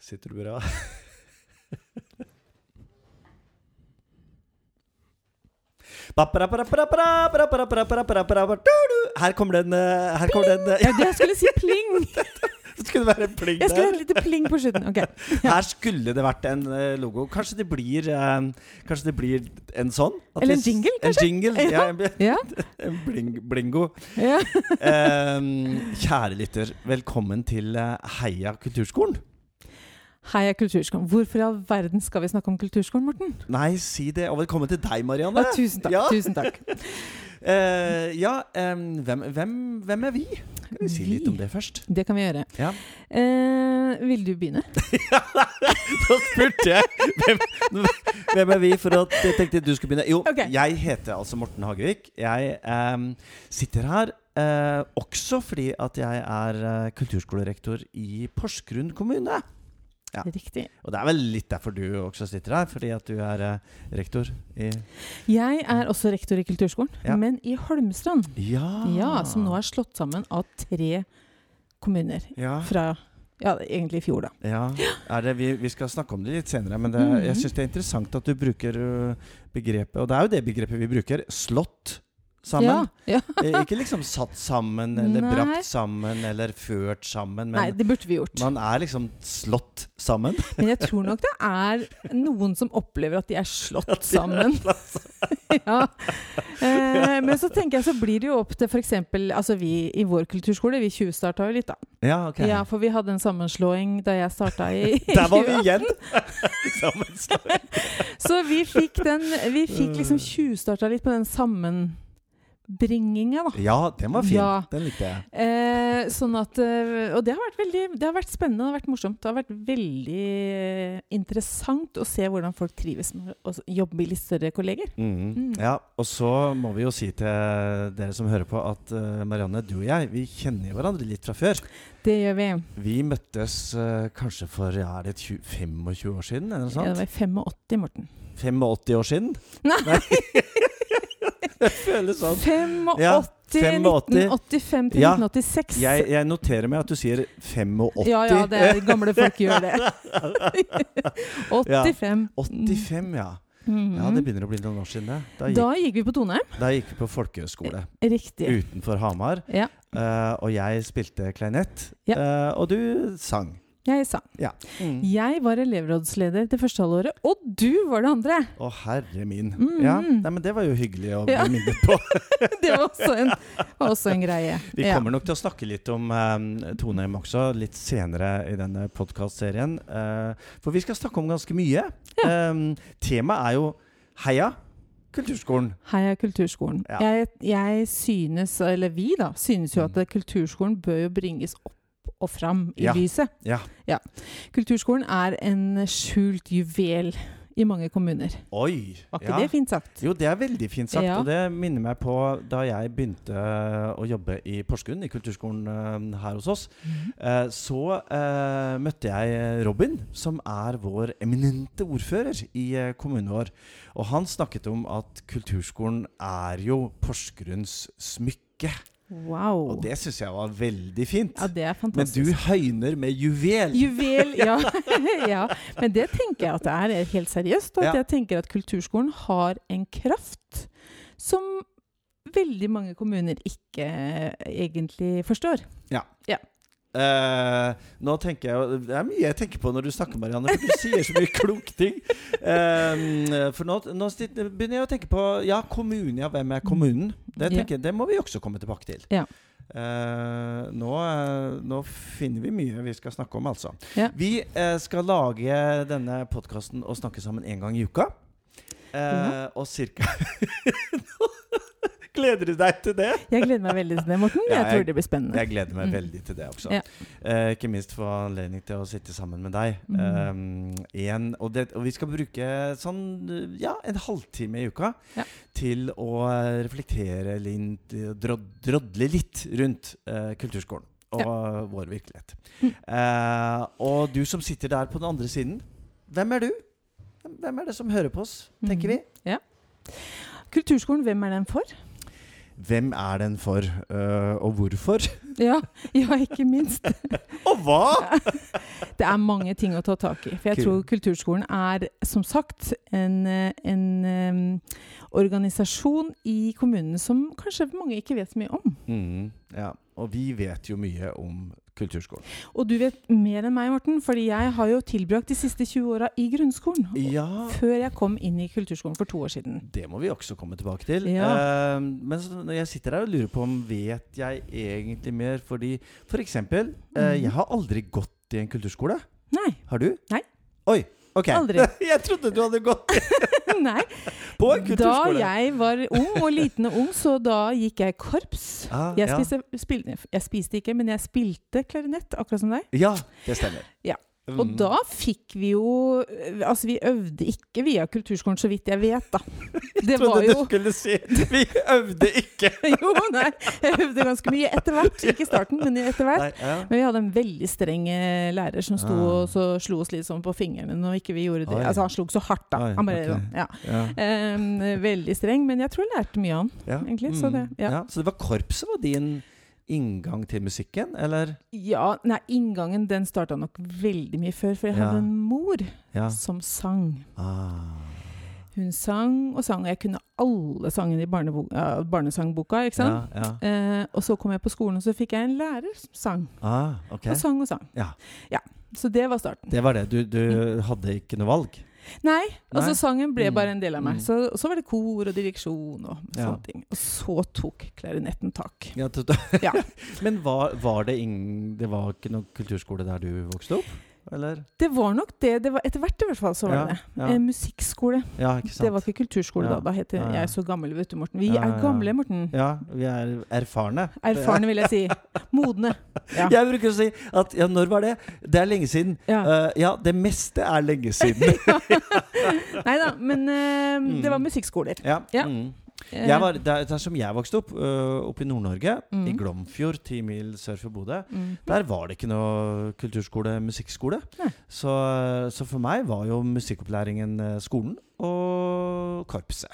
Sitter du bra? Her kommer den eh, Her kommer den eh, Ja, det jeg skulle si pling! Det skulle være en pling Jeg skulle ha der. et lite pling på slutten. Ok. Her skulle det vært en eh, logo. Kanskje det blir eh, Kanskje det blir en sånn? At Eller vi en s- jingle, En jingle, ja. Ja. en bl- Ja. En bling, blingo. ja. Ehm, kjære lytter, velkommen til eh, Heia kulturskolen. Heia Kulturskolen. Hvorfor i all verden skal vi snakke om Kulturskolen, Morten? Nei, si det. Og velkommen til deg, Marianne. Å, tusen takk. Ja, tusen takk. Eh, ja em, hvem, hvem, hvem er vi? Kan vi si Vi? litt om det først? Det kan vi gjøre. Ja. Eh, vil du begynne? Da spurte jeg hvem, hvem er vi, for at jeg tenkte du skulle begynne. Jo, Ok. jeg heter altså Morten Hagevik. Jeg em, sitter her eh, også fordi at jeg er eh, kulturskolerektor i Porsgrunn kommune. Ja. Riktig. Og det er vel litt derfor du også sitter her, fordi at du er eh, rektor i Jeg er også rektor i Kulturskolen, Ja. Ah. men i Holmestrand. Ja! Ja, som nå er slått sammen av tre kommuner ja, fra ja, egentlig i fjor, da. ja. Er det, vi, vi skal snakke om det litt senere, men det, Mm. jeg syns det er interessant at du bruker ø, begrepet Og det er jo det begrepet vi bruker. Slått sammen. Ja, ja. Eh, Ikke liksom satt sammen, eller Nei. brakt sammen, eller ført sammen. Nei, Men det burde vi gjort. man er liksom slått sammen. Men jeg tror nok det er noen som opplever at de er slått sammen. ja. eh, men så tenker jeg så blir det jo opp til f.eks. Altså vi i vår kulturskole, vi tjuvstarta jo litt, da. Ja, ok. Ja, For vi hadde en sammenslåing da jeg starta i Der var vi igjen! sammen. Så vi fikk den Vi fikk liksom tjuvstarta litt på den sammenbringinga, da. Ja, den var fin. Ja. Den likte jeg. Eh, sånn at, eh, og det har vært veldig Det har vært spennende det har vært morsomt. Det har vært veldig eh, interessant å se hvordan folk trives med å s- jobbe i litt større kolleger. Mm. Mm. Ja, og så må vi jo si til dere som hører på, at eh, Marianne, du og jeg, vi kjenner jo hverandre litt fra før. Det gjør vi. Vi møttes eh, kanskje for ja, er det 20, 25 år siden? Eller noe Ja, sånt? det var i 85, Morten. 85 år siden? Nei. det føles sånn. 85, Ja, 85. 1985 til Ja. 1986. Jeg, jeg noterer meg at du sier 85. Ja, ja, det er gamle folk gjør det. 85. 85, ja. Ja, Det begynner å bli noen år siden. det. Da gikk, Mm-hmm. Da gikk vi på Toneheim. da gikk vi på folkehøyskole Riktig. utenfor Hamar. Ja. eh, og jeg spilte kleinett, Ja. eh, og du sang. Jeg sa Ja. Mm. Jeg var elevrådsleder det første halvåret, og du var det andre! Å, herre min. Mm. Ja, Nei, men Det var jo hyggelig å bli Ja. minnet på. Det var også en, var også en greie. Vi Ja. kommer nok til å snakke litt om eh, Toneheim også litt senere i denne podkastserien. Eh, for vi skal snakke om ganske mye. Ja. Eh, temaet er jo Heia kulturskolen. Heia kulturskolen. Ja. Jeg, jeg synes, eller vi da, synes jo at Mm. kulturskolen bør jo bringes opp og fram i Ja. lyset. Ja. Kulturskolen er en skjult juvel i mange kommuner. Oi! Var ikke ja. det fint sagt? Jo, det er veldig fint sagt, Ja. og det minner meg på da jeg begynte eh, å jobbe i Porsgrunn, i kulturskolen eh, her hos oss. Mhm. Eh, Så eh, møtte jeg Robin, som er vår eminente ordfører i eh, kommunen vår. Og han snakket om at kulturskolen er jo Porsgrunns smykke. Wow. Og det syns jeg var veldig fint. Ja, det er Men fantastisk. du høyner med juvel. Juvel, ja. ja. Men det tenker jeg at det er helt seriøst. Og Ja. at jeg tenker at kulturskolen har en kraft som veldig mange kommuner ikke eh, egentlig forstår. Eh, nå tenker jeg jo- Det er mye jeg tenker på når du snakker, Marianne, for du sier så mye kloke ting. Eh, for nå, nå sitt- begynner jeg å tenke på Ja, kommunen. Ja, hvem er kommunen? Det, Ja. tenker, jeg- det må vi også komme tilbake til. Ja. Eh, nå, eh, nå finner vi mye vi skal snakke om, altså. Ja. Vi eh, skal lage denne podkasten og snakke sammen én gang i uka. Eh, Ja. Og cirka Gleder du deg til det? Jeg gleder meg veldig til det, Morten. Ja, Jeg jeg- tror det blir spennende. Jeg gleder meg Mm. veldig til det også. Ja. Eh, ikke minst få anledning til å sitte sammen med deg. Mm. Eh, en, og, det, og vi skal bruke sånn ja, en halvtime i uka Ja. til å reflektere litt, drod, drodle litt rundt eh, kulturskolen. Og vår virkelighet. Mm. Eh, og du som sitter der på den andre siden, hvem er du? Mm. Hvem er det som hører på oss, tenker vi? Kulturskolen, hvem er den for? Hvem er den for, eh, og hvorfor? Ja, ja, ikke minst. Og hva?! Det er mange ting å ta tak i. For jeg Kul. tror kulturskolen er, som sagt, en, eh, en eh, organisasjon i kommunene som kanskje mange ikke vet så mye om. Mm, ja. Og vi vet jo mye om kulturskolen. Og du vet mer enn meg, Morten, fordi jeg har jo tilbrakt de siste 20 åra i grunnskolen. Ja, Før jeg kom inn i kulturskolen for to år siden. Det må vi også komme tilbake til. Ja. Eh, men så når jeg sitter her og lurer på om vet jeg egentlig mer fordi For eksempel, eh, Mhm. jeg har aldri gått i en kulturskole. Nei. Har du? Nei. Oi. Ok. Aldri. jeg trodde du hadde gått Nei. på en Da kulturskole! jeg var ung, og liten og ung, så da gikk jeg i korps. Ah, Jeg ja. spiste, spil, jeg spiste ikke, men jeg spilte klarinett, akkurat som deg. Ja, det stemmer. Ja. Og Mm. da fikk vi jo Altså, vi øvde ikke via kulturskolen, så vidt jeg vet, da. Det Jeg var trodde du jo skulle si Vi øvde ikke! Jo, nei. Jeg øvde ganske mye etter hvert. Ikke i starten, men etter hvert. Nei, ja. Men vi hadde en veldig streng eh, lærer som sto Ah. og så slo oss litt sånn på fingrene når ikke vi gjorde det. Oi. Altså, han slo ikke så hardt, da. Oi, Han bare, ok. ja. Ja. Em, veldig streng, men jeg tror jeg lærte mye av han. Ja. Egentlig, så det- ja. så det var korpset var din inngang til musikken, eller? Ja, nei, inngangen den starta nok veldig mye før, for jeg Ja. hadde en mor Ja. som sang. Ah. Hun sang og sang, og jeg kunne alle sangene i barnebo- ja, barnesangboka, ikke sant? Ja, ja. Eh, og så kom jeg på skolen, og så fikk jeg en lærer som sang. Ah, ok. Og sang og sang. Ja. ja. Så det var starten. Det var det. Du, Mm. du hadde ikke noe valg? Nei, altså Nei. sangen ble Mm. bare en del av meg. Mm. Så, så var det kor og direksjon og Ja. sånne ting. Og så tok klarinetten tak. Ja, t- t- Ja. Men var, var det ingen Det var ikke noen kulturskole der du vokste opp? Eller? Det var nok det. det var, etter hvert i hvert fall så var Ja, det det. ja. Eh, musikkskole. Ja, ikke sant? Det var ikke kulturskole Ja. da. Da het det Ja, ja. Jeg er så gammel, vet du, Morten. Vi Ja, ja, er ja. gamle, Morten. Ja, vi er erfarne. Erfarne, vil jeg si. Modne. Ja. Jeg bruker å si at ja, når var det? Det er lenge siden. Ja. Eh, ja, det meste er lenge siden. Nei da, men eh, det var musikkskoler. ja. Ja. Mm. Eh, Jeg var, der, der som jeg vokste opp, eh, oppe i Nord-Norge, i Mm. Glomfjord, ti mil sør for Bodø, mm. der var det ikke noe kulturskole, musikkskole. Nei. Så, så for meg var jo musikkopplæringen eh, skolen og korpset.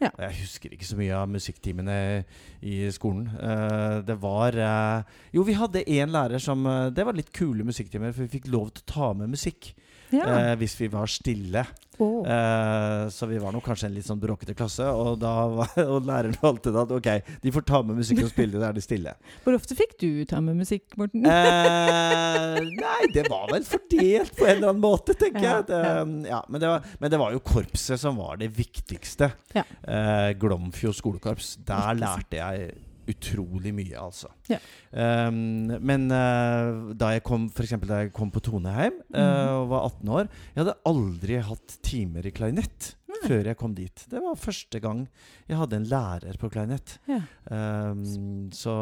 Ja. Og Jeg husker ikke så mye av musikktimene i skolen. Eh, det var eh, Jo, vi hadde én lærer som eh, Det var litt kule musikktimer, for vi fikk lov til å ta med musikk Ja. eh, hvis vi var stille. Åh. Eh, så vi var nok kanskje en litt sånn bråkete klasse, og, da var, og læreren valgte da at ok, de får ta med musikk og spille, da er de stille. Hvor ofte fikk du ta med musikk, Morten? Eh, nei, det var vel fordelt på en eller annen måte, tenker Ja, jeg. Det, um, ja, men, det var, men det var jo korpset som var det viktigste. Ja. Eh, Glomfjord skolekorps. Der Ikke sant. lærte jeg utrolig mye, altså. Ja. Um, men eh, da jeg kom for eksempel da jeg kom på Toneheim eh, Mhm. og var 18 år Jeg hadde aldri hatt timer i klarinett Nei. før jeg kom dit. Det var første gang jeg hadde en lærer på klarinett. Ja, Um, så,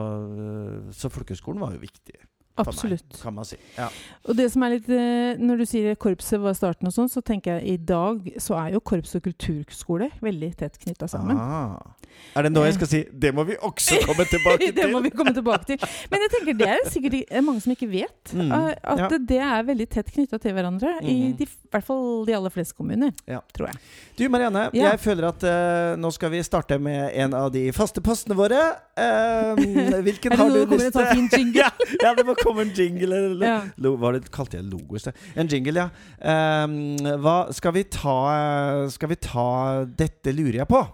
eh, så folkehøgskolen var jo viktig for absolutt. meg, kan man si. Ja. Og det som er litt, eh, Når du sier korpset var starten, og sånn, så tenker jeg i dag så er jo korps og kulturskole veldig tett knytta sammen. Ah. Er det nå jeg skal si 'det må vi også komme tilbake Det må til'? vi komme tilbake til. Men jeg tenker det er sikkert eh, mange som ikke vet. Mm, eh, At ja. det- det er veldig tett knytta til hverandre. I Mhm. de, i hvert fall de aller fleste kommuner, Ja. tror jeg. Du Marianne, Ja. jeg føler at eh, nå skal vi starte med en av de faste postene våre. Eh, hvilken Er det har nå det du kommer lyst en sånn fin jingle? ja, ja, det må komme en jingle. Eller, Ja. lo, hva det, kalte jeg logo i sted? En jingle, ja. Um, hva, skal, vi ta, skal vi ta 'Dette lurer jeg på'?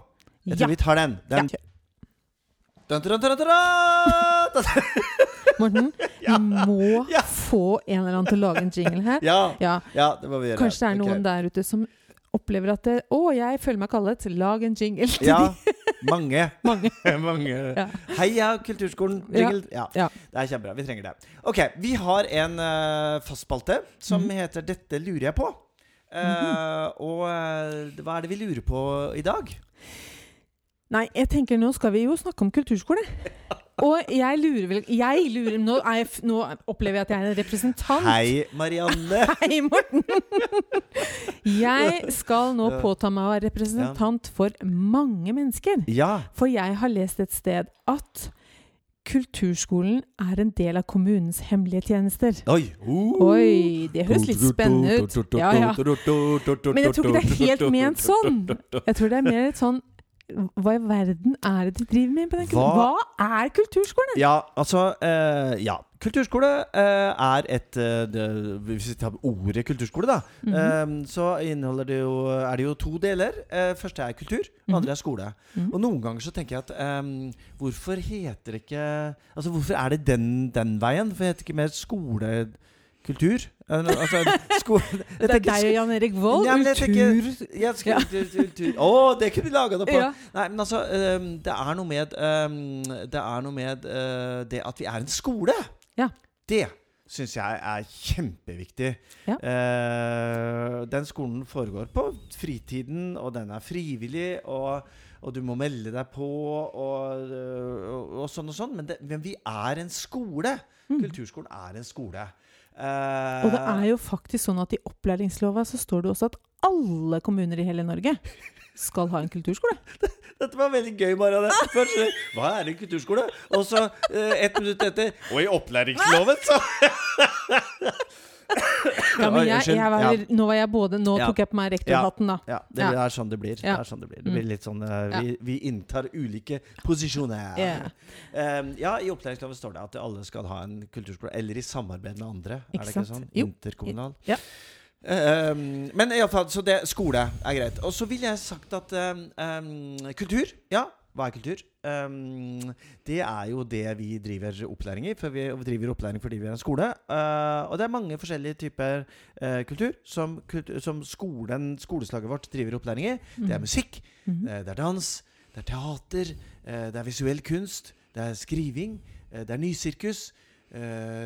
Jeg tror Ja. vi tar den. den. Ja. Dun, dun, dun, dun, dun, dun. Morten, Ja. vi må Ja. få en eller annen til å lage en jingle her. Ja, Ja, ja, det må vi gjøre. Kanskje det er Ok. noen der ute som opplever at det, 'Å, jeg føler meg kallet. Lag en jingle til Ja, de mange. mange'. mange. Ja. Heia Kulturskolen. Ja. Jingle. Ja. Ja. Det er kjempebra. Vi trenger det. Ok, Vi har en uh, fastspalte som Mhm. heter 'Dette lurer jeg på'. Eh, Og eh, hva er det vi lurer på i dag? Nei, jeg tenker nå skal vi jo snakke om kulturskole. Og jeg lurer vel jeg lurer, nå, er jeg, f- nå opplever jeg at jeg er en representant. Hei, Marianne. Hei, Morten! Jeg skal nå Ja. påta meg å være representant for mange mennesker. Ja. For jeg har lest et sted at kulturskolen er en del av kommunens hemmelige tjenester. Oi. Uh. Oi, det høres litt spennende ut. Ja, ja. Men jeg tror ikke det er helt ment sånn. Jeg tror det er mer et sånn Hva i verden er det de driver med på den Hva- kulturskolen? Hva er kulturskolen? Ja, altså eh, Ja. Kulturskole eh, er et eh, det, Hvis vi tar ordet kulturskole, da, Mhm. eh, så inneholder det jo, er det jo to deler. Eh, første er kultur, Mhm. og andre er skole. Og noen ganger så tenker jeg at eh, hvorfor heter det ikke Altså hvorfor er det den, den veien? Hvorfor heter det ikke mer skolekultur? Eller, Altså, sko, Det er deg og Jan Erik Vold. Ja, men jeg tenker- Kultur. ja, skulle, Ja. Å, det kunne vi laga det på! Ja. Nei, men altså, øhm, det er noe med øhm, Det er noe med øh, det at vi er en skole. Ja. Det syns jeg er kjempeviktig. Ja. Eh, den skolen foregår på fritiden, og den er frivillig, og, og du må melde deg på, og, øh, og, og sånn og sånn. Men, det, men vi er en skole. Kulturskolen er en skole. Eh, Mm. Og det er jo faktisk sånn at i opplæringslova så står det også at alle kommuner i hele Norge skal ha en kulturskole. Dette var veldig gøy, Marianne. Først så, hva er en kulturskole? Og så eh, ett minutt etter Og i opplæringsloven, så! Ja, men Oi, jeg, unnskyld. jeg var, ja. nå, var jeg både, nå Ja. tok jeg på meg rektorhatten, da. Ja, det er sånn det blir. Det Ja. er sånn det blir. Det blir litt sånn eh, vi, vi inntar ulike posisjoner. Ja. Em, Ehm, ja, i opplæringsloven står det at alle skal ha en kulturskole. Eller i samarbeid med andre. Ikke er det ikke sant? sånn? Jo. Interkommunal. Ja. Um, men iallfall, så det, skole er greit. Og så ville jeg sagt at um, um, kultur Ja, hva er kultur? Um, det er jo det vi driver opplæring i. For vi driver opplæring fordi vi er en skole. Uh, og det er mange forskjellige typer eh, kultur som, kultu- som skolen, skoleslaget vårt driver opplæring i. Det Mhm. Mm. er musikk, eh, det er dans, det er teater, eh, det er visuell kunst, det er skriving, eh, det er nysirkus, eh,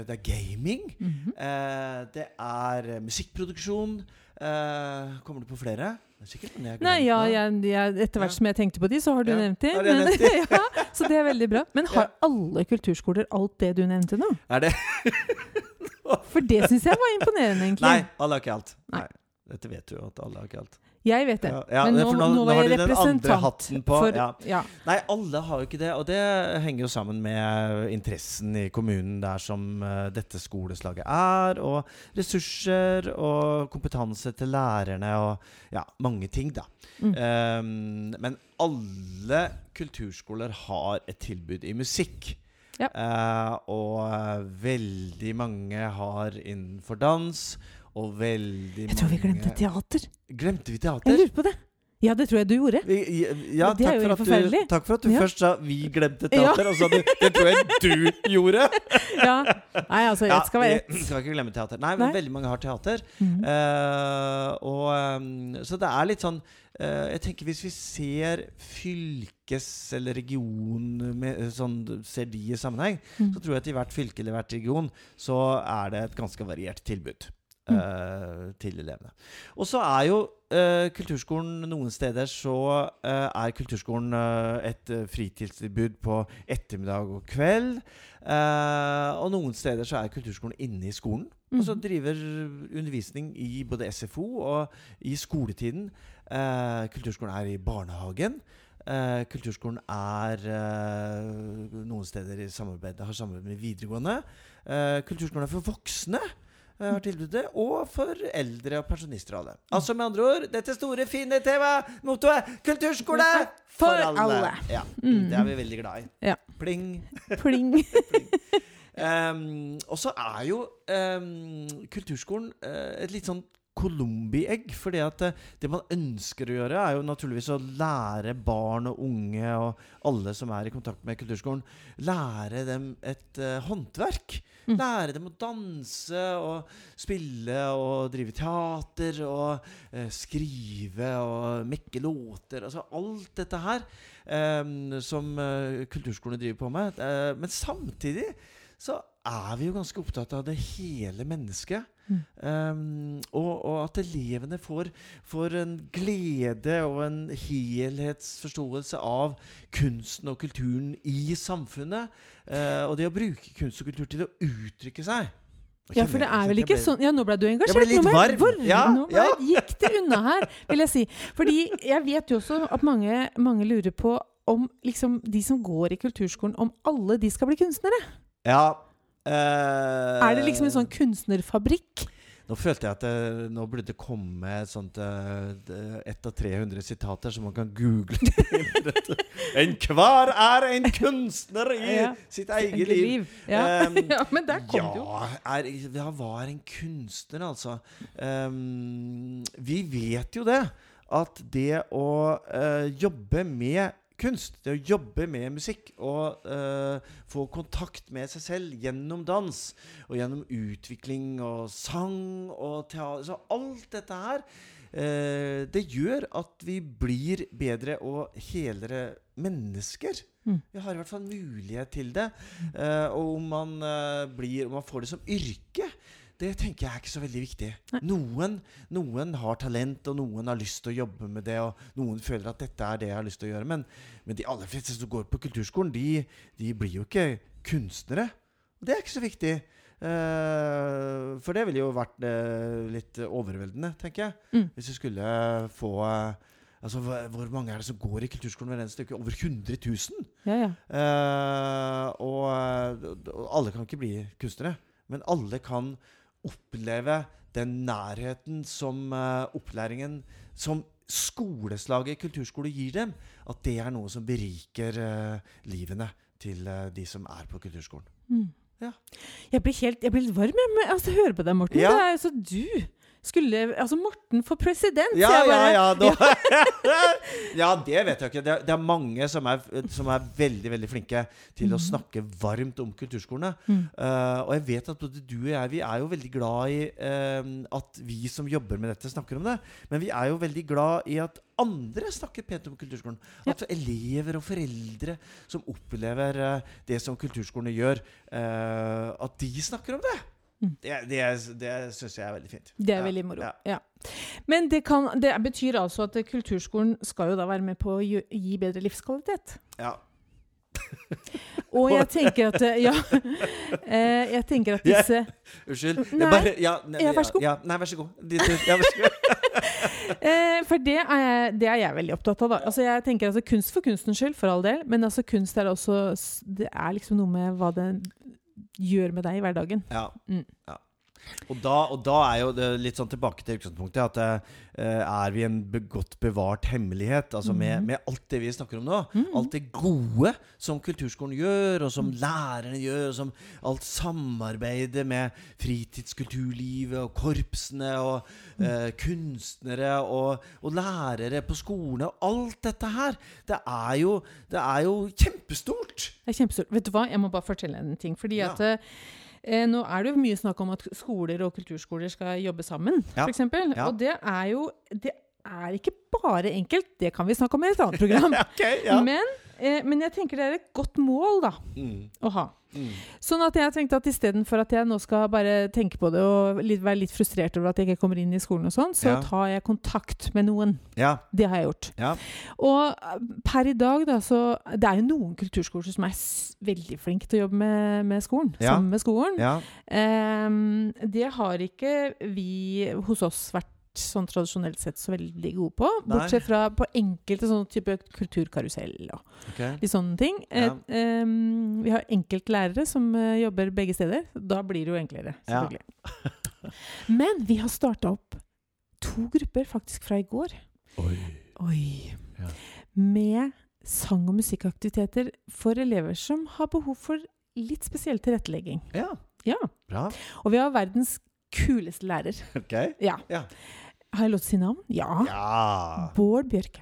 det er gaming. Mhm. Eh, det er eh, musikkproduksjon. Eh, kommer du på flere? Det er Sikkert, men jeg glemmer Nei, ja, det. jeg, jeg, etter hvert Ja. som jeg tenkte på de, så har du Ja, nevnt de. har jeg Men- nevnt ja, så det er veldig bra. Men har alle kulturskoler alt det du nevnte nå? Er det? For det syns jeg var imponerende, egentlig. Nei, alle har ikke alt. Nei. Nei. Dette vet du jo at alle har ikke alt. Jeg vet det. Ja, ja, men det er nå, for nå, nå- nå var har jeg du den andre representant hatten på, for ja. ja. Nei, alle har jo ikke det, og det henger jo sammen med interessen i kommunen der som eh, dette skoleslaget er, og ressurser og kompetanse til lærerne og ja, mange ting, da. Mm. Um, men alle kulturskoler har et tilbud i musikk. Ja. Eh, og veldig mange har innenfor dans, og veldig mange Jeg tror vi glemte teater. Glemte vi Jeg teater? lurer på det. Ja, det tror jeg du gjorde. Vi, ja, Det takk, er jo for helt at du, forferdelig. takk for at du Ja. først sa 'vi glemte Ja. teater', og så sa du 'det tror jeg du gjorde'. Ja. Nei, altså, Ja, jeg skal være vi skal ikke glemme teater. Nei, men Nei. veldig mange har teater. Mhm. Eh, og, um, så det er litt sånn eh, Jeg tenker hvis vi ser fylkes- eller region med, sånn, Ser de i sammenheng, Mhm. så tror jeg at i hvert fylke eller hvert region så er det et ganske variert tilbud. eh, Til elevene. Og så er jo eh, kulturskolen Noen steder så eh, er kulturskolen eh, et eh, fritidstilbud på ettermiddag og kveld. Eh, og noen steder så er kulturskolen inne i skolen. Og Mm. Mhm. så driver undervisning i både SFO og i skoletiden. Eh, kulturskolen er i barnehagen. Eh, kulturskolen er eh, noen steder i samarbeid, har samarbeid med videregående. Eh, kulturskolen er for voksne. eh, Har tilbudet, og for eldre og pensjonister og alle. Altså med andre ord, dette store, fine temaet, mottoet, kulturskole For alle. Ja, Mm. Det er vi veldig glad i. Ja. Pling. Pling. Ehm, og så er jo ehm, kulturskolen eh, et litt sånn Columbi-egg. fordi at eh, det man ønsker å gjøre, er jo naturligvis å lære barn og unge og alle som er i kontakt med kulturskolen, lære dem et eh, håndverk. Mm. Lære dem å danse og spille og drive teater og eh, skrive og mekke låter. Altså alt dette her ehm, som eh, kulturskolen driver på med. Eh, men samtidig så er vi jo ganske opptatt av det hele mennesket. Mm. Ehm, og, og at elevene får, får en glede og en helhetsforståelse av kunsten og kulturen i samfunnet. eh, og det å bruke kunst og kultur til å uttrykke seg. Nå Ja, kjenner for jeg- det er vel jeg ikke ble- sånn Ja, nå ble du engasjert. Jeg ble litt nå varm. Ja, nå ble, ja. gikk det unna her, vil jeg si. Fordi jeg vet jo også at mange, mange lurer på om liksom de som går i kulturskolen, om alle de skal bli kunstnere. Ja. eh, Er det liksom en sånn kunstnerfabrikk? Nå følte jeg at det, nå burde det komme et sånt eh, det- ett av 300 sitater som man kan google. til dette. Enhver er en kunstner i Ja. sitt Eget eget liv. Ja. Um, ja, men der kom det jo. Ja, er, ja, hva er en kunstner, altså? Ehm, vi vet jo det, at det å eh, jobbe med kunst, det å jobbe med musikk og eh, få kontakt med seg selv gjennom dans og gjennom utvikling og sang og teater Så alt dette her, eh, det gjør at vi blir bedre og helere mennesker. Mm. Vi har i hvert fall mulighet til det. Eh, og om man, eh, blir, om man får det som yrke, det tenker jeg er ikke så veldig viktig. Nei. Noen, noen har talent, og noen har lyst til å jobbe med det, og noen føler at dette er det jeg har lyst til å gjøre. Men, men de aller fleste som går på kulturskolen, de, de blir jo ikke kunstnere. Og det er ikke så viktig. Eh, for det ville jo vært eh, litt overveldende, tenker jeg. Mm. Hvis vi skulle få eh, Altså, hva- hvor mange er det som går i kulturskolen hver eneste uke? Over 100 000? Ja, ja. Eh, og, og alle kan ikke bli kunstnere, men alle kan oppleve den nærheten som eh, opplæringen som skoleslaget kulturskole gir dem, at det er noe som beriker eh, livene til eh, de som er på kulturskolen. Mm. Ja. Jeg blir helt jeg blir litt varm jeg, med altså, høre på deg, Morten. Ja. Det er jo så du skulle Altså, Morten for president! Ja, så jeg ja, bare- ja, nå. ja, det vet jeg ikke. Det er, det er mange som er, som er veldig veldig flinke til å Mhm. snakke varmt om kulturskolene. Mm. Eh, og jeg vet at både du og jeg vi er jo veldig glad i eh, at vi som jobber med dette, snakker om det. Men vi er jo veldig glad i at andre snakker pent om kulturskolen. At elever og foreldre som opplever eh, det som kulturskolene gjør, eh, at de snakker om det. Mm. Det, det, det syns jeg er veldig fint. Det er Ja, veldig moro. ja. Ja. Men det, kan, det betyr altså at kulturskolen skal jo da være med på å gi, gi bedre livskvalitet. Ja. Og jeg tenker at eh, Ja. eh, Jeg tenker at disse Unnskyld. Nei. Jeg bare, ja, nei, Ja, vær så god. Ja, nei, vær så god. Din tur. Ja, vær så god. eh, For det er, jeg- det er jeg veldig opptatt av, da. Altså, jeg tenker altså kunst for kunstens skyld, for all del. Men altså kunst er også s- Det er liksom noe med hva det gjør med deg i hverdagen. Ja. Mm. Ja. Og, da, og da er jo det litt sånn tilbake til utgangspunktet at eh, er vi en be godt bevart hemmelighet? Altså med, med alt det vi snakker om nå. Alt det gode som kulturskolen gjør, og som lærerne gjør, og som alt samarbeidet med fritidskulturlivet og korpsene og eh, kunstnere og, og lærere på skolene. Alt dette her. Det er jo, det er jo kjempestort. Det er kjempestort. Vet du hva, jeg må bare fortelle en ting. Fordi Ja. at eh, nå er det jo mye snakk om at skoler og kulturskoler skal jobbe sammen, Ja. for eksempel. Ja. Og det er jo Det er ikke bare enkelt. Det kan vi snakke om i et annet program. Ok, men, eh, men jeg tenker det er et godt mål, da, Mm. å ha. Mm. Sånn at jeg tenkte at istedenfor at jeg nå skal bare tenke på det og litt, være litt frustrert over at jeg ikke kommer inn i skolen og sånn, så Ja. tar jeg kontakt med noen. Ja. Det har jeg gjort. Ja. Og eh, per i dag, da, så Det er jo noen kulturskoler som er s veldig flinke til å jobbe med, med skolen. Ja. Sammen med skolen. ja. Ehm, det har ikke vi hos oss vært sånn tradisjonelt sett så veldig gode på. Nei. Bortsett fra på enkelte sånne type kulturkarusell og Ok. litt sånne ting. Ja. Eh, ehm, vi har enkeltlærere som eh, jobber begge steder. Da blir det jo enklere, Ja. selvfølgelig. Men vi har starta opp to grupper faktisk fra i går. Oi. Oi. Ja. Med sang- og musikkaktiviteter for elever som har behov for litt spesiell tilrettelegging. Ja. Ja. Bra. Og vi har verdens kuleste lærer. Ok. Ja. Ja. Har jeg lov til å si navn? Ja. Ja. Bård Bjørke.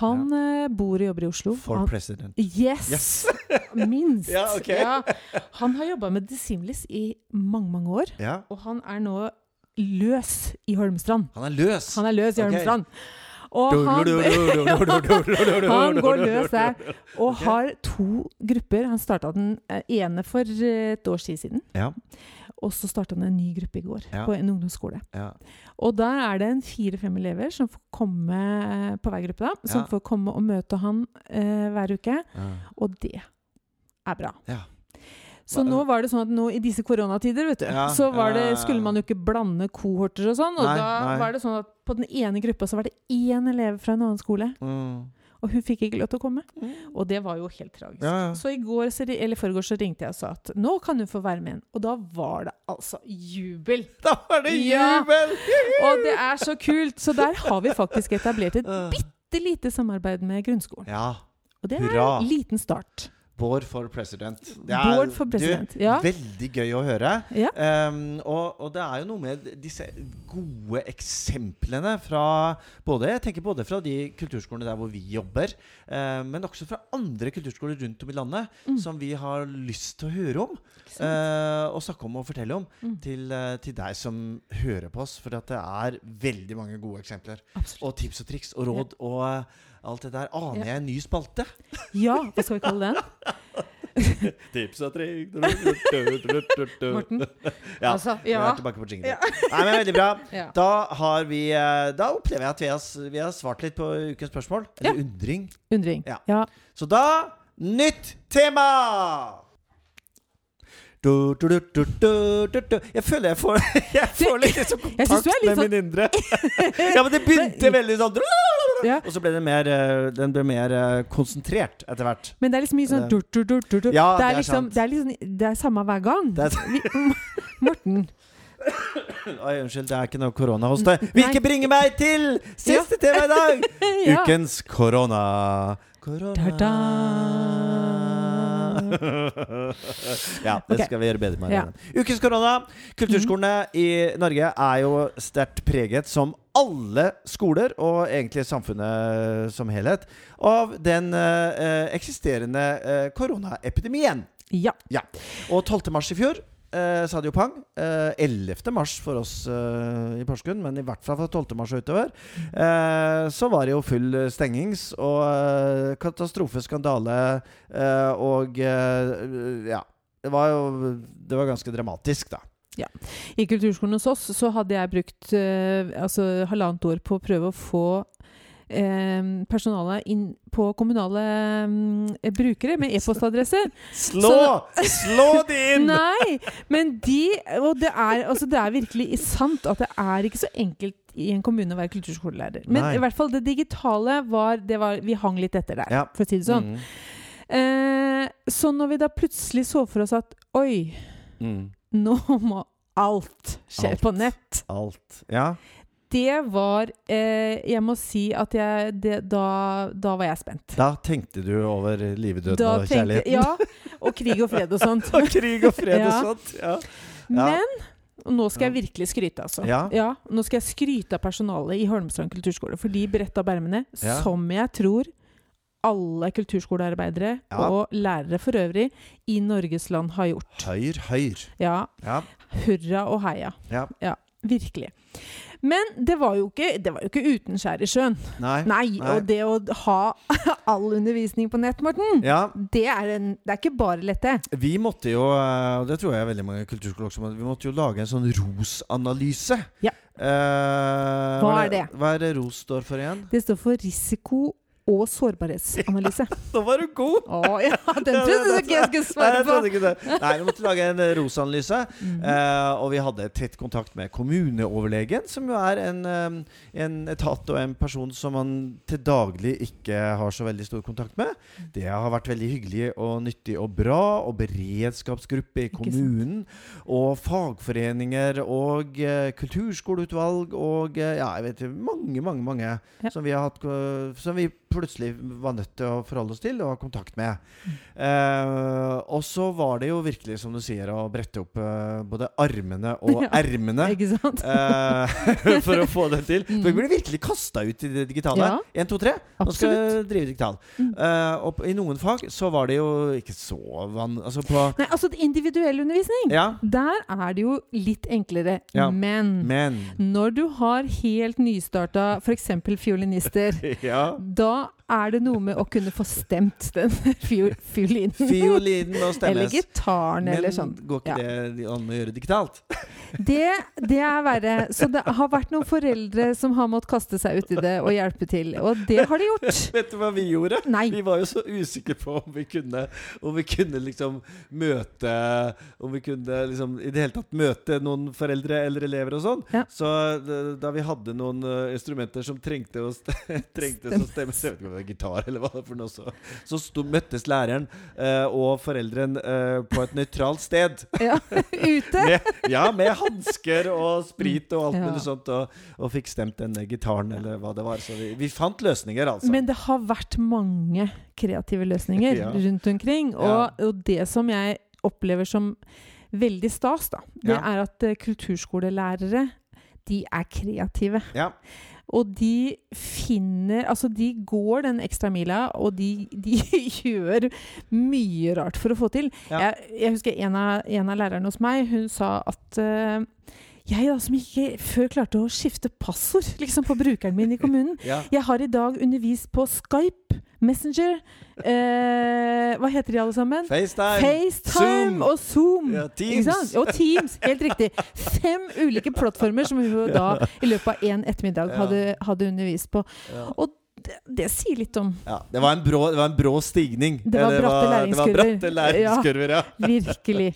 Han eh, bor og jobber i Oslo. For han, president. yes! Yes. Minst. Ja, ok. Han har jobba med Dissimilis i mange, mange år. Ja. Og han er nå løs i Holmestrand. Han er løs. Han er løs i Ok. Holmestrand. Og han, Han går løs der. Og har to grupper. Han starta den eh, ene for eh, et års tid siden. Ja. Og så starta han en ny gruppe i går, Ja. på en ungdomsskole. Ja. Og der er det en fire-fem elever som får komme eh, på hver gruppe, da. Som Ja. får komme og møte han eh, hver uke. Ja. Og det er bra. Ja. Så nå var det sånn at nå i disse koronatider vet du, Ja, så var det, ja, ja, ja. skulle man jo ikke blande kohorter og sånn. Og Nei, da nei. var det sånn at på den ene gruppa så var det én elev fra en annen skole. Mm. Og Og hun fikk ikke lov til å komme. Mm. Og det var jo helt tragisk. Ja, ja. Så i går, så ri- eller forgårs så ringte jeg og sa at nå kan hun få være med igjen. Og da var det altså jubel! Da var det Ja. jubel! Og det er så kult! Så der har vi faktisk etablert et bitte lite samarbeid med grunnskolen. Ja. Og det er Hurra. en liten start. Bård for president. Det Bård for president, Du, ja. Veldig gøy å høre. Ja. Ehm, og, og det er jo noe med disse gode eksemplene fra både, jeg tenker både fra de kulturskolene der hvor vi jobber, eh, men også fra andre kulturskoler rundt om i landet Mm. som vi har lyst til å høre om. eh, og snakke om og fortelle om Mm. til, eh, til deg som hører på oss. For at det er veldig mange gode eksempler. Absolutt. Og tips og triks og råd og eh, alt det der. Aner Ja. jeg en ny spalte? Ja, hva skal vi kalle den? Tips og triks Morten? Ja, altså, Vi ja. er tilbake på jingle. Nei, men Veldig bra. Ja. Da, har vi, eh, da opplever jeg at vi har, s- vi har svart litt på ukens spørsmål. Eller undring. Undring. Ja. Ja. Så da nytt tema! Du, du, du, du, du, du, du. Jeg føler jeg får, jeg får litt liksom Jeg synes kontakt du er litt med min indre. Ja, men det begynte veldig sånn Ja. Og så ble den mer, eh, den ble mer eh, konsentrert etter hvert. Men det er liksom mye sånn Det- dur, dur, dur, dur, dur. Eh, Ja, det, det er er liksom, sant. det er liksom Det er samme hver gang. Det er, Morten. oi, unnskyld, det er ikke noe koronahoste. Hvilket bringer meg til siste tema i dag! Ja. Ukens korona. Korona Eh. Da-da. Ja, det Ok. skal vi gjøre bedre med. Ja. Mhm. Ukens korona. Kulturskolene i Norge er jo sterkt preget, som alle skoler, og egentlig samfunnet som helhet, av den eh, eksisterende eh, koronaepidemien. Ja. Og 12. mars i fjor eh, sa det jo pang. Eh, 11. mars for oss eh, i Porsgrunn, men i hvert fall fra 12. mars og utover. Eh, så var det jo full eh, stengings og eh, katastrofe, skandale eh, og eh, Ja. Det var jo det var ganske dramatisk, da. I kulturskolen hos oss så hadde jeg brukt eh, altså, halvannet år på å prøve å få eh, personalet inn på kommunale eh, brukere med e-postadresser. Slå! Slå det inn! Nei! Men de Og det er, altså, det er virkelig sant at det er ikke så enkelt i en kommune å være kulturskolelærer. Men Nei. i hvert fall det digitale var, det var Vi hang litt etter der, Ja. Mm. for å si det sånn. Eh, så når vi da plutselig så for oss at oi, Mm, mm, nå må alt skje Alt. på nett. alt. Ja. Det var eh, Jeg må si at jeg det, da, da var jeg spent. Da tenkte du over livet, døden Da og tenkte- kjærligheten. Ja. Og krig og fred og sånt. Og krig og fred og Ja. sånt. Ja. Ja. Men og nå skal jeg virkelig skryte, altså. Ja. nå skal jeg skryte av personalet i Holmestrand kulturskole, for de bretta opp ermene, Ja. som jeg tror alle kulturskolearbeidere Ja. og lærere for øvrig i Norges land har gjort. Høyr, høyr. Ja, Ja. hurra og heia. ja. Virkelig. Men det var jo ikke, det var jo ikke uten skjær i sjøen. Nei. Nei, Nei. og det å ha all undervisning på nett, Morten, Ja, det, er en, det er ikke bare lett, det. vi måtte jo, eh, og det tror jeg veldig mange kulturskoler også må, vi måtte jo lage en sånn ROS-analyse. Ja. Eh, Hva er det? Hva er det ROS står for igjen? Det står for risiko- og sårbarhetsanalyse. Nå var du god! Å ja, den trodde du ikke jeg skulle Nei, svare jeg på! Mm. trodde ikke det. Nei, vi måtte lage en eh, ROS-analyse. Eh, og vi hadde tett kontakt med kommuneoverlegen, som jo er en, eh, en etat og en person som man til daglig ikke har så veldig stor kontakt med. Det har vært veldig hyggelig og nyttig og bra. Og beredskapsgruppe i sant. kommunen. Og fagforeninger og eh, kulturskoleutvalg og eh, ja, jeg vet ikke, mange, mange, mange Ja. som, vi har hatt, eh, som vi plutselig var nødt til å forholde oss til og ha kontakt med. Mm. Eh, og så var det jo virkelig, som du sier, å brette opp eh, både armene og Ja. ermene. Ikke sant? eh, for å få det til. For vi Mm. blir virkelig kasta ut i det digitale. Ja. Én, to, tre. Nå skal Absolutt. jeg drive digital. Mm. Eh, og på- i noen fag så var det jo ikke så van... Altså på Nei, altså individuell undervisning, Ja, der er det jo litt enklere. Ja. Men men når du har helt nystarta f.eks. fiolinister, Ja. da er det noe med å kunne få stemt den fiol- fiolinen. Fiolinen må Eller stemmes. gitaren, Men eller sånn. går ikke Ja. det an å gjøre digitalt? Det, det er verre. Så det har vært noen foreldre som har måttet kaste seg uti det og hjelpe til. Og det har de gjort. Vet du hva vi gjorde? Nei. Vi var jo så usikre på om vi kunne Om vi kunne liksom møte Om vi kunne liksom i det hele tatt møte noen foreldre eller elever og sånn. Ja. Så eh, da vi hadde noen eh, instrumenter som trengte å, st trengtes å stemme Jeg vet ikke om øve gitar, eller hva det er for noe. Så, så sto, møttes læreren eh, og foreldren eh, på et nøytralt sted. Ja, ute. Med, ja, med hansker og sprit og alt Ja. mulig sånt, og, og fikk stemt den eh, gitaren, eller hva det var. Så vi, vi fant løsninger, altså. Men det har vært mange kreative løsninger Ja. rundt omkring. Og, og det som jeg opplever som veldig stas, da, det Ja. er at eh, kulturskolelærere de er kreative. ja. Og de finner Altså, de går den ekstra mila, og de, de gjør mye rart for å få til. Ja. Jeg, jeg husker en av, en av lærerne hos meg, hun sa at eh, jeg da, som ikke før klarte å skifte passord liksom, på brukeren min i kommunen, ja. jeg har i dag undervist på Skype, Messenger eh, Hva heter de alle sammen? FaceTime! FaceTime Zoom. og Zoom. Ja, Mm, Ikke sant? Teams! Og Teams. Helt riktig. Fem ulike plattformer som hun da i løpet av én ettermiddag Ja. hadde, hadde undervist på. Ja. Og det, det sier litt om Ja, det var en brå, det var en brå stigning. Eh, Det var bratte læringskurver. Det var bratte læringskurver, ja. Virkelig.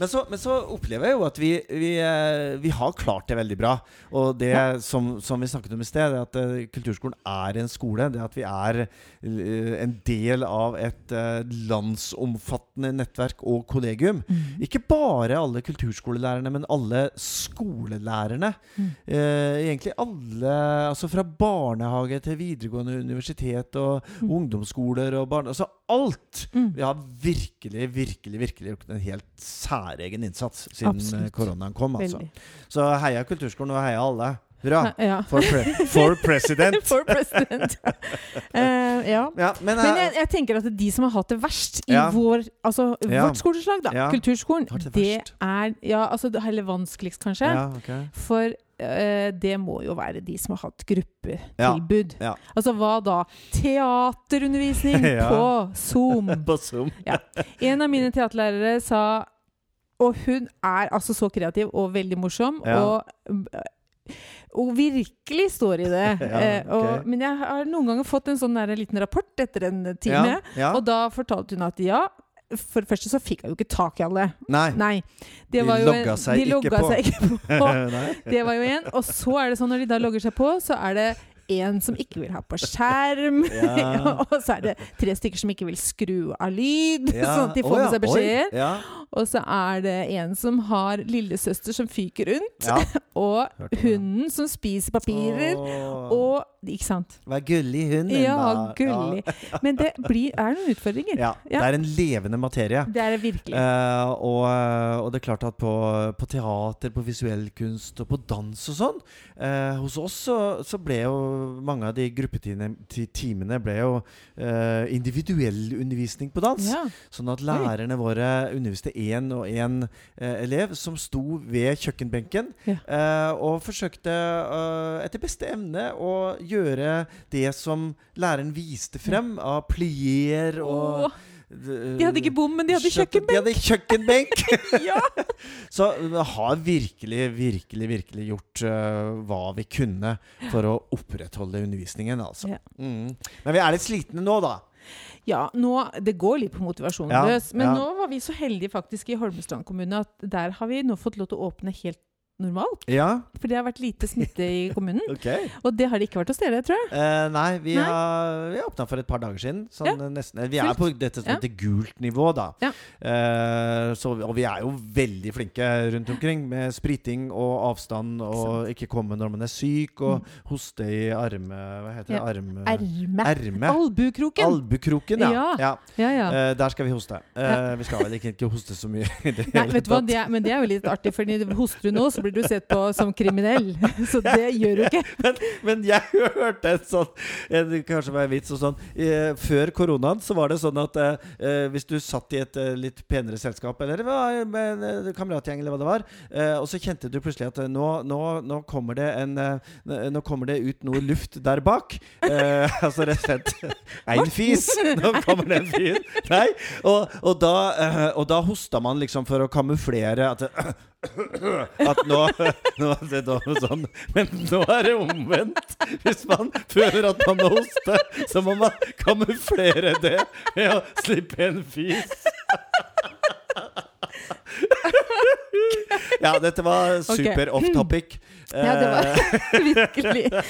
Men så, men så opplever jeg jo at vi, vi, eh, vi har klart det veldig bra. Og det som, som vi snakket om i sted, det at eh, kulturskolen er en skole. Det at vi er eh, en del av et eh, landsomfattende nettverk og kollegium. Ikke bare alle kulturskolelærerne, men alle skolelærerne. Mm. Eh, egentlig alle, altså fra barnehage til videregående universitet og Mm. ungdomsskoler og barne... Altså alt! Mm. Vi har virkelig, virkelig virkelig gjort en helt særegen innsats siden Absolutt. eh, koronaen kom. Altså. Veldig. Så heia kulturskolen, og heia alle. Hurra! Ja. For, pre for president! For president. Eh, ja. Ja, men, Men eh, jeg, jeg tenker at de som har hatt det verst i Ja. vår, altså, Ja. vårt skoleslag, da, Ja. kulturskolen, Har det det, verst. er ja, altså, det- Eller vanskeligst, kanskje. ja, ok. For eh, det må jo være de som har hatt Ja, gruppetilbud. ja. Altså hva da? Teaterundervisning Ja. på Zoom. På Zoom. En av mine teaterlærere sa Og hun er altså så kreativ og veldig morsom. Ja. Og, og virkelig står i det. Ja, Eh, ok. og, men jeg har noen ganger fått en sånn der, liten rapport etter en time. Ja, ja. Og da fortalte hun at ja, for det første så fikk jeg jo ikke tak i alle. Nei. Nei. De Det var jo en- logga seg de ikke logga på. Seg ikke på. Nei. Det var jo en. Og så er det sånn når de da logger seg på, så er det en som ikke vil ha på skjerm. Ja. og så er det tre stykker som ikke vil skru av lyd, sånn at de Å får ja, med seg beskjeder. Oi, ja. Og så er det en som har lillesøster som fyker rundt, Ja. Hørte og det. hunden som spiser papirer. Åh. Og Ikke sant? Vær gullig hund, Linda. Ja, gullig. Men det blir, er noen utfordringer. Ja. ja. Det er en levende materie. Det er det virkelig. Eh, og, og det er klart at på, på teater, på visuell kunst og på dans og sånn eh, Hos oss så, så ble jo mange av de gruppetimene ble jo eh, individuell undervisning på dans. Ja. Sånn at lærerne våre underviste én og én eh, elev som sto ved kjøkkenbenken Ja. eh, og forsøkte eh, etter beste evne å gjøre det som læreren viste frem av plier og Åh, de hadde ikke bom, men de hadde Kjøkken- kjøkkenbenk! eh, De hadde kjøkkenbenk! Ja. Så vi har virkelig, virkelig, virkelig gjort øh, hva vi kunne for å opprettholde undervisningen, altså. Ja. Mm. Men vi er litt slitne nå, da. Ja, nå, det går litt på motivasjonen Ja, løs. Men ja. nå var vi så heldige faktisk i Holmestrand kommune at der har vi nå fått lov til å åpne helt normalt. Ja, For det har vært lite smitte i kommunen. ok. Og det har det ikke vært hos dere, tror jeg. Eh, nei, vi Nei. har vi har åpna for et par dager siden. Sånn, eh, nesten, eh, vi er Kult. på dette som Ja. heter gult nivå, da. Ja. Eh, så, og vi er jo veldig flinke rundt omkring med spriting og avstand og ikke komme når man er syk, og hoste i arme... Hva heter det? Mm. Ja. Erm- Arme... Erme. Erme. Albukroken! Albukroken, ja. Ja. ja. ja, ja. Eh, der skal vi hoste. Eh, Vi skal vel ikke, ikke hoste så mye. i det Nei, hele vet du hva? tatt. Det er, men det er jo litt artig, for hoster du nå, så blir du sett på som kriminell. Så det gjør du ikke. Men jeg hørte en sånn en, Kanskje det var en vits og sånn. Eh, før koronaen så var det sånn at eh, eh, hvis du satt i et eh, litt penere selskap, eller det var med en eh, kameratgjeng, eller hva det var, eh, og så kjente du plutselig at eh, nå, nå, nå, kommer det en, eh, n- nå kommer det ut noe luft der bak. Eh, altså rett og slett En fis! Nå kommer det en fis. Nei. Og, og, da, eh, og da hosta man liksom for å kamuflere at eh, at nå, nå er det da sånn Men nå er det omvendt. Hvis man føler at man må hoste, så må man kamuflere det ved å slippe en fis. Ja, dette var super off topic. Eh, Ja, det var virkelig ja,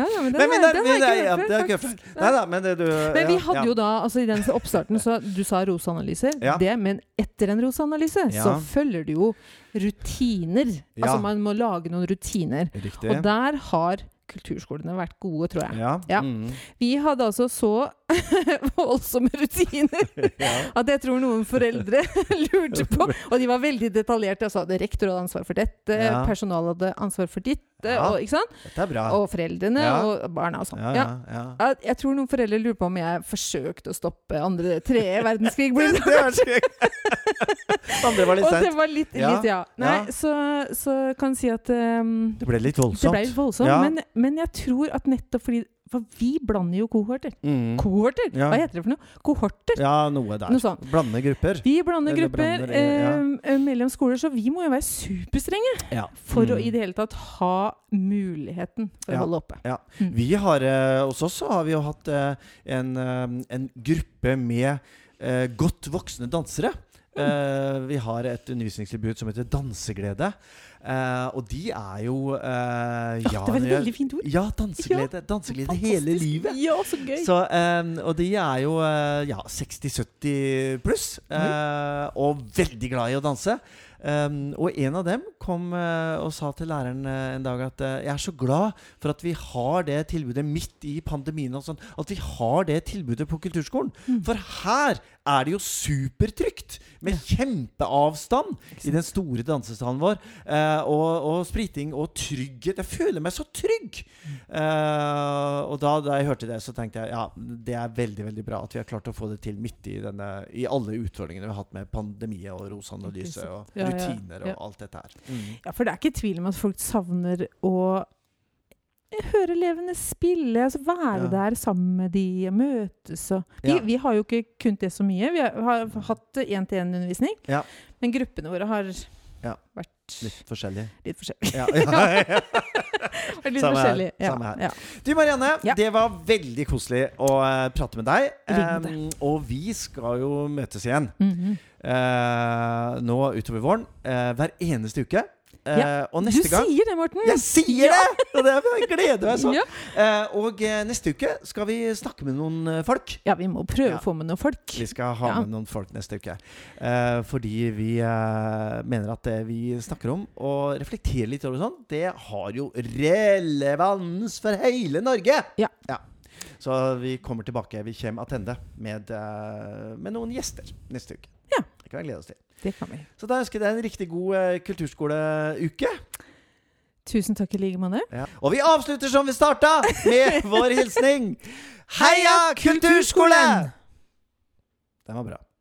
ja, men den, Nei, men har- der- den har jeg nei, ikke ja, hørt før, det har jeg ikke faktisk. hørt før. Nei da, men det du Men vi hadde jo da, altså i den oppstarten, så du sa roseanalyser. Ja. Det, men etter en roseanalyse så Ja. følger det jo rutiner. Ja. Altså man må lage noen rutiner. Riktig. Og der har kulturskolene vært gode, tror jeg. ja. Ja. Mm. Vi hadde altså så voldsomme rutiner ja. at jeg tror noen foreldre lurte på Og de var veldig detaljerte. Altså hadde rektor hadde ansvar for dette, Ja. personalet hadde ansvar for ditt, Ja. og, ikke sant? Dette er bra. og foreldrene Ja. og barna og sånn. Ja, Ja. ja, ja. At Jeg tror noen foreldre lurer på om jeg forsøkte å stoppe andre tredje verdenskrig. Det blir det er kanskje. skjønt. Andre var litt Og det seint. var litt, Ja, litt ja. Nei, ja. Så, så kan jeg si at ehm, Det ble litt det ble voldsomt. litt voldsomt. Ja. Men, men jeg tror at nettopp fordi For vi blander jo kohorter. Mm. Kohorter? Ja. Hva heter det for noe? Kohorter. Ja, noe der. Noe sånt. Blande grupper. Vi blander Eller grupper blander, ja. ehm, mellom skoler, så vi må jo være superstrenge Ja. for Mm. å i det hele tatt ha muligheten for Ja. å holde oppe. Vi har, eh, hos oss så har vi jo hatt eh, en, eh, en gruppe med eh, godt voksne dansere. Mm. Eh, vi har et undervisningstilbud som heter Danseglede. Eh, og de er jo eh, Ja, det var et de er- veldig fint ord. Ja, danseglede. Danseglede hele Fantastisk. livet. Ja, så gøy. Så, eh, og de er jo eh, ja, 60-70 pluss, Mhm. eh, og veldig glad i å danse. Um, og en av dem kom eh, og sa til læreren eh, en dag at eh, jeg er så glad for at vi har det tilbudet midt i pandemien og sånn, at vi har det tilbudet på kulturskolen. For her er det jo supertrygt, med kjempeavstand i den store dansesalen vår. eh, og, og spriting og trygghet. Jeg føler meg så trygg! Eh, og da, da jeg hørte det, så tenkte jeg ja, det er veldig veldig bra at vi har klart å få det til midt i, denne, i alle utfordringene vi har hatt med pandemi og rosanalyse og Ja, ja, rutiner og ja. alt dette her. Mm. Ja, for det er ikke tvil om at folk savner å eh, høre elevene spille, altså være Ja. der sammen med de, og møtes og vi, Ja. vi har jo ikke kunnet det så mye. Vi har, har hatt én-til-én-undervisning, Ja. men gruppene våre har Ja. vært litt, Litt forskjellig. forskjellige. Ja, ja, ja. Vært litt Samme her, forskjellige. Ja, samme her. ja. Du Marianne, Ja. det var veldig koselig å eh, prate med deg. I like måte. Em, og vi skal jo møtes igjen Mhm. eh, nå utover våren. eh, hver eneste uke. Eh, Ja. Og Du neste gang sier det, Morten! Jeg sier det! Og det jeg gleder meg sånn. Ja. Eh, og eh, neste uke skal vi snakke med noen eh, folk. ja, vi må prøve Ja. å få med noen folk. Vi skal ha Ja. med noen folk neste uke. Eh, fordi vi eh, mener at det vi snakker om og reflekterer litt over og sånn, det har jo relevans for hele Norge! Ja. Så vi kommer tilbake. Vi kommer attende med, eh, med noen gjester neste uke. Ja. Det kan vi glede oss til. Det kan vi. Så da ønsker jeg deg en riktig god eh, kulturskoleuke. Tusen takk i like måte. Ja. Og vi avslutter som vi starta, med vår hilsning. Heia kulturskolen! Den var bra.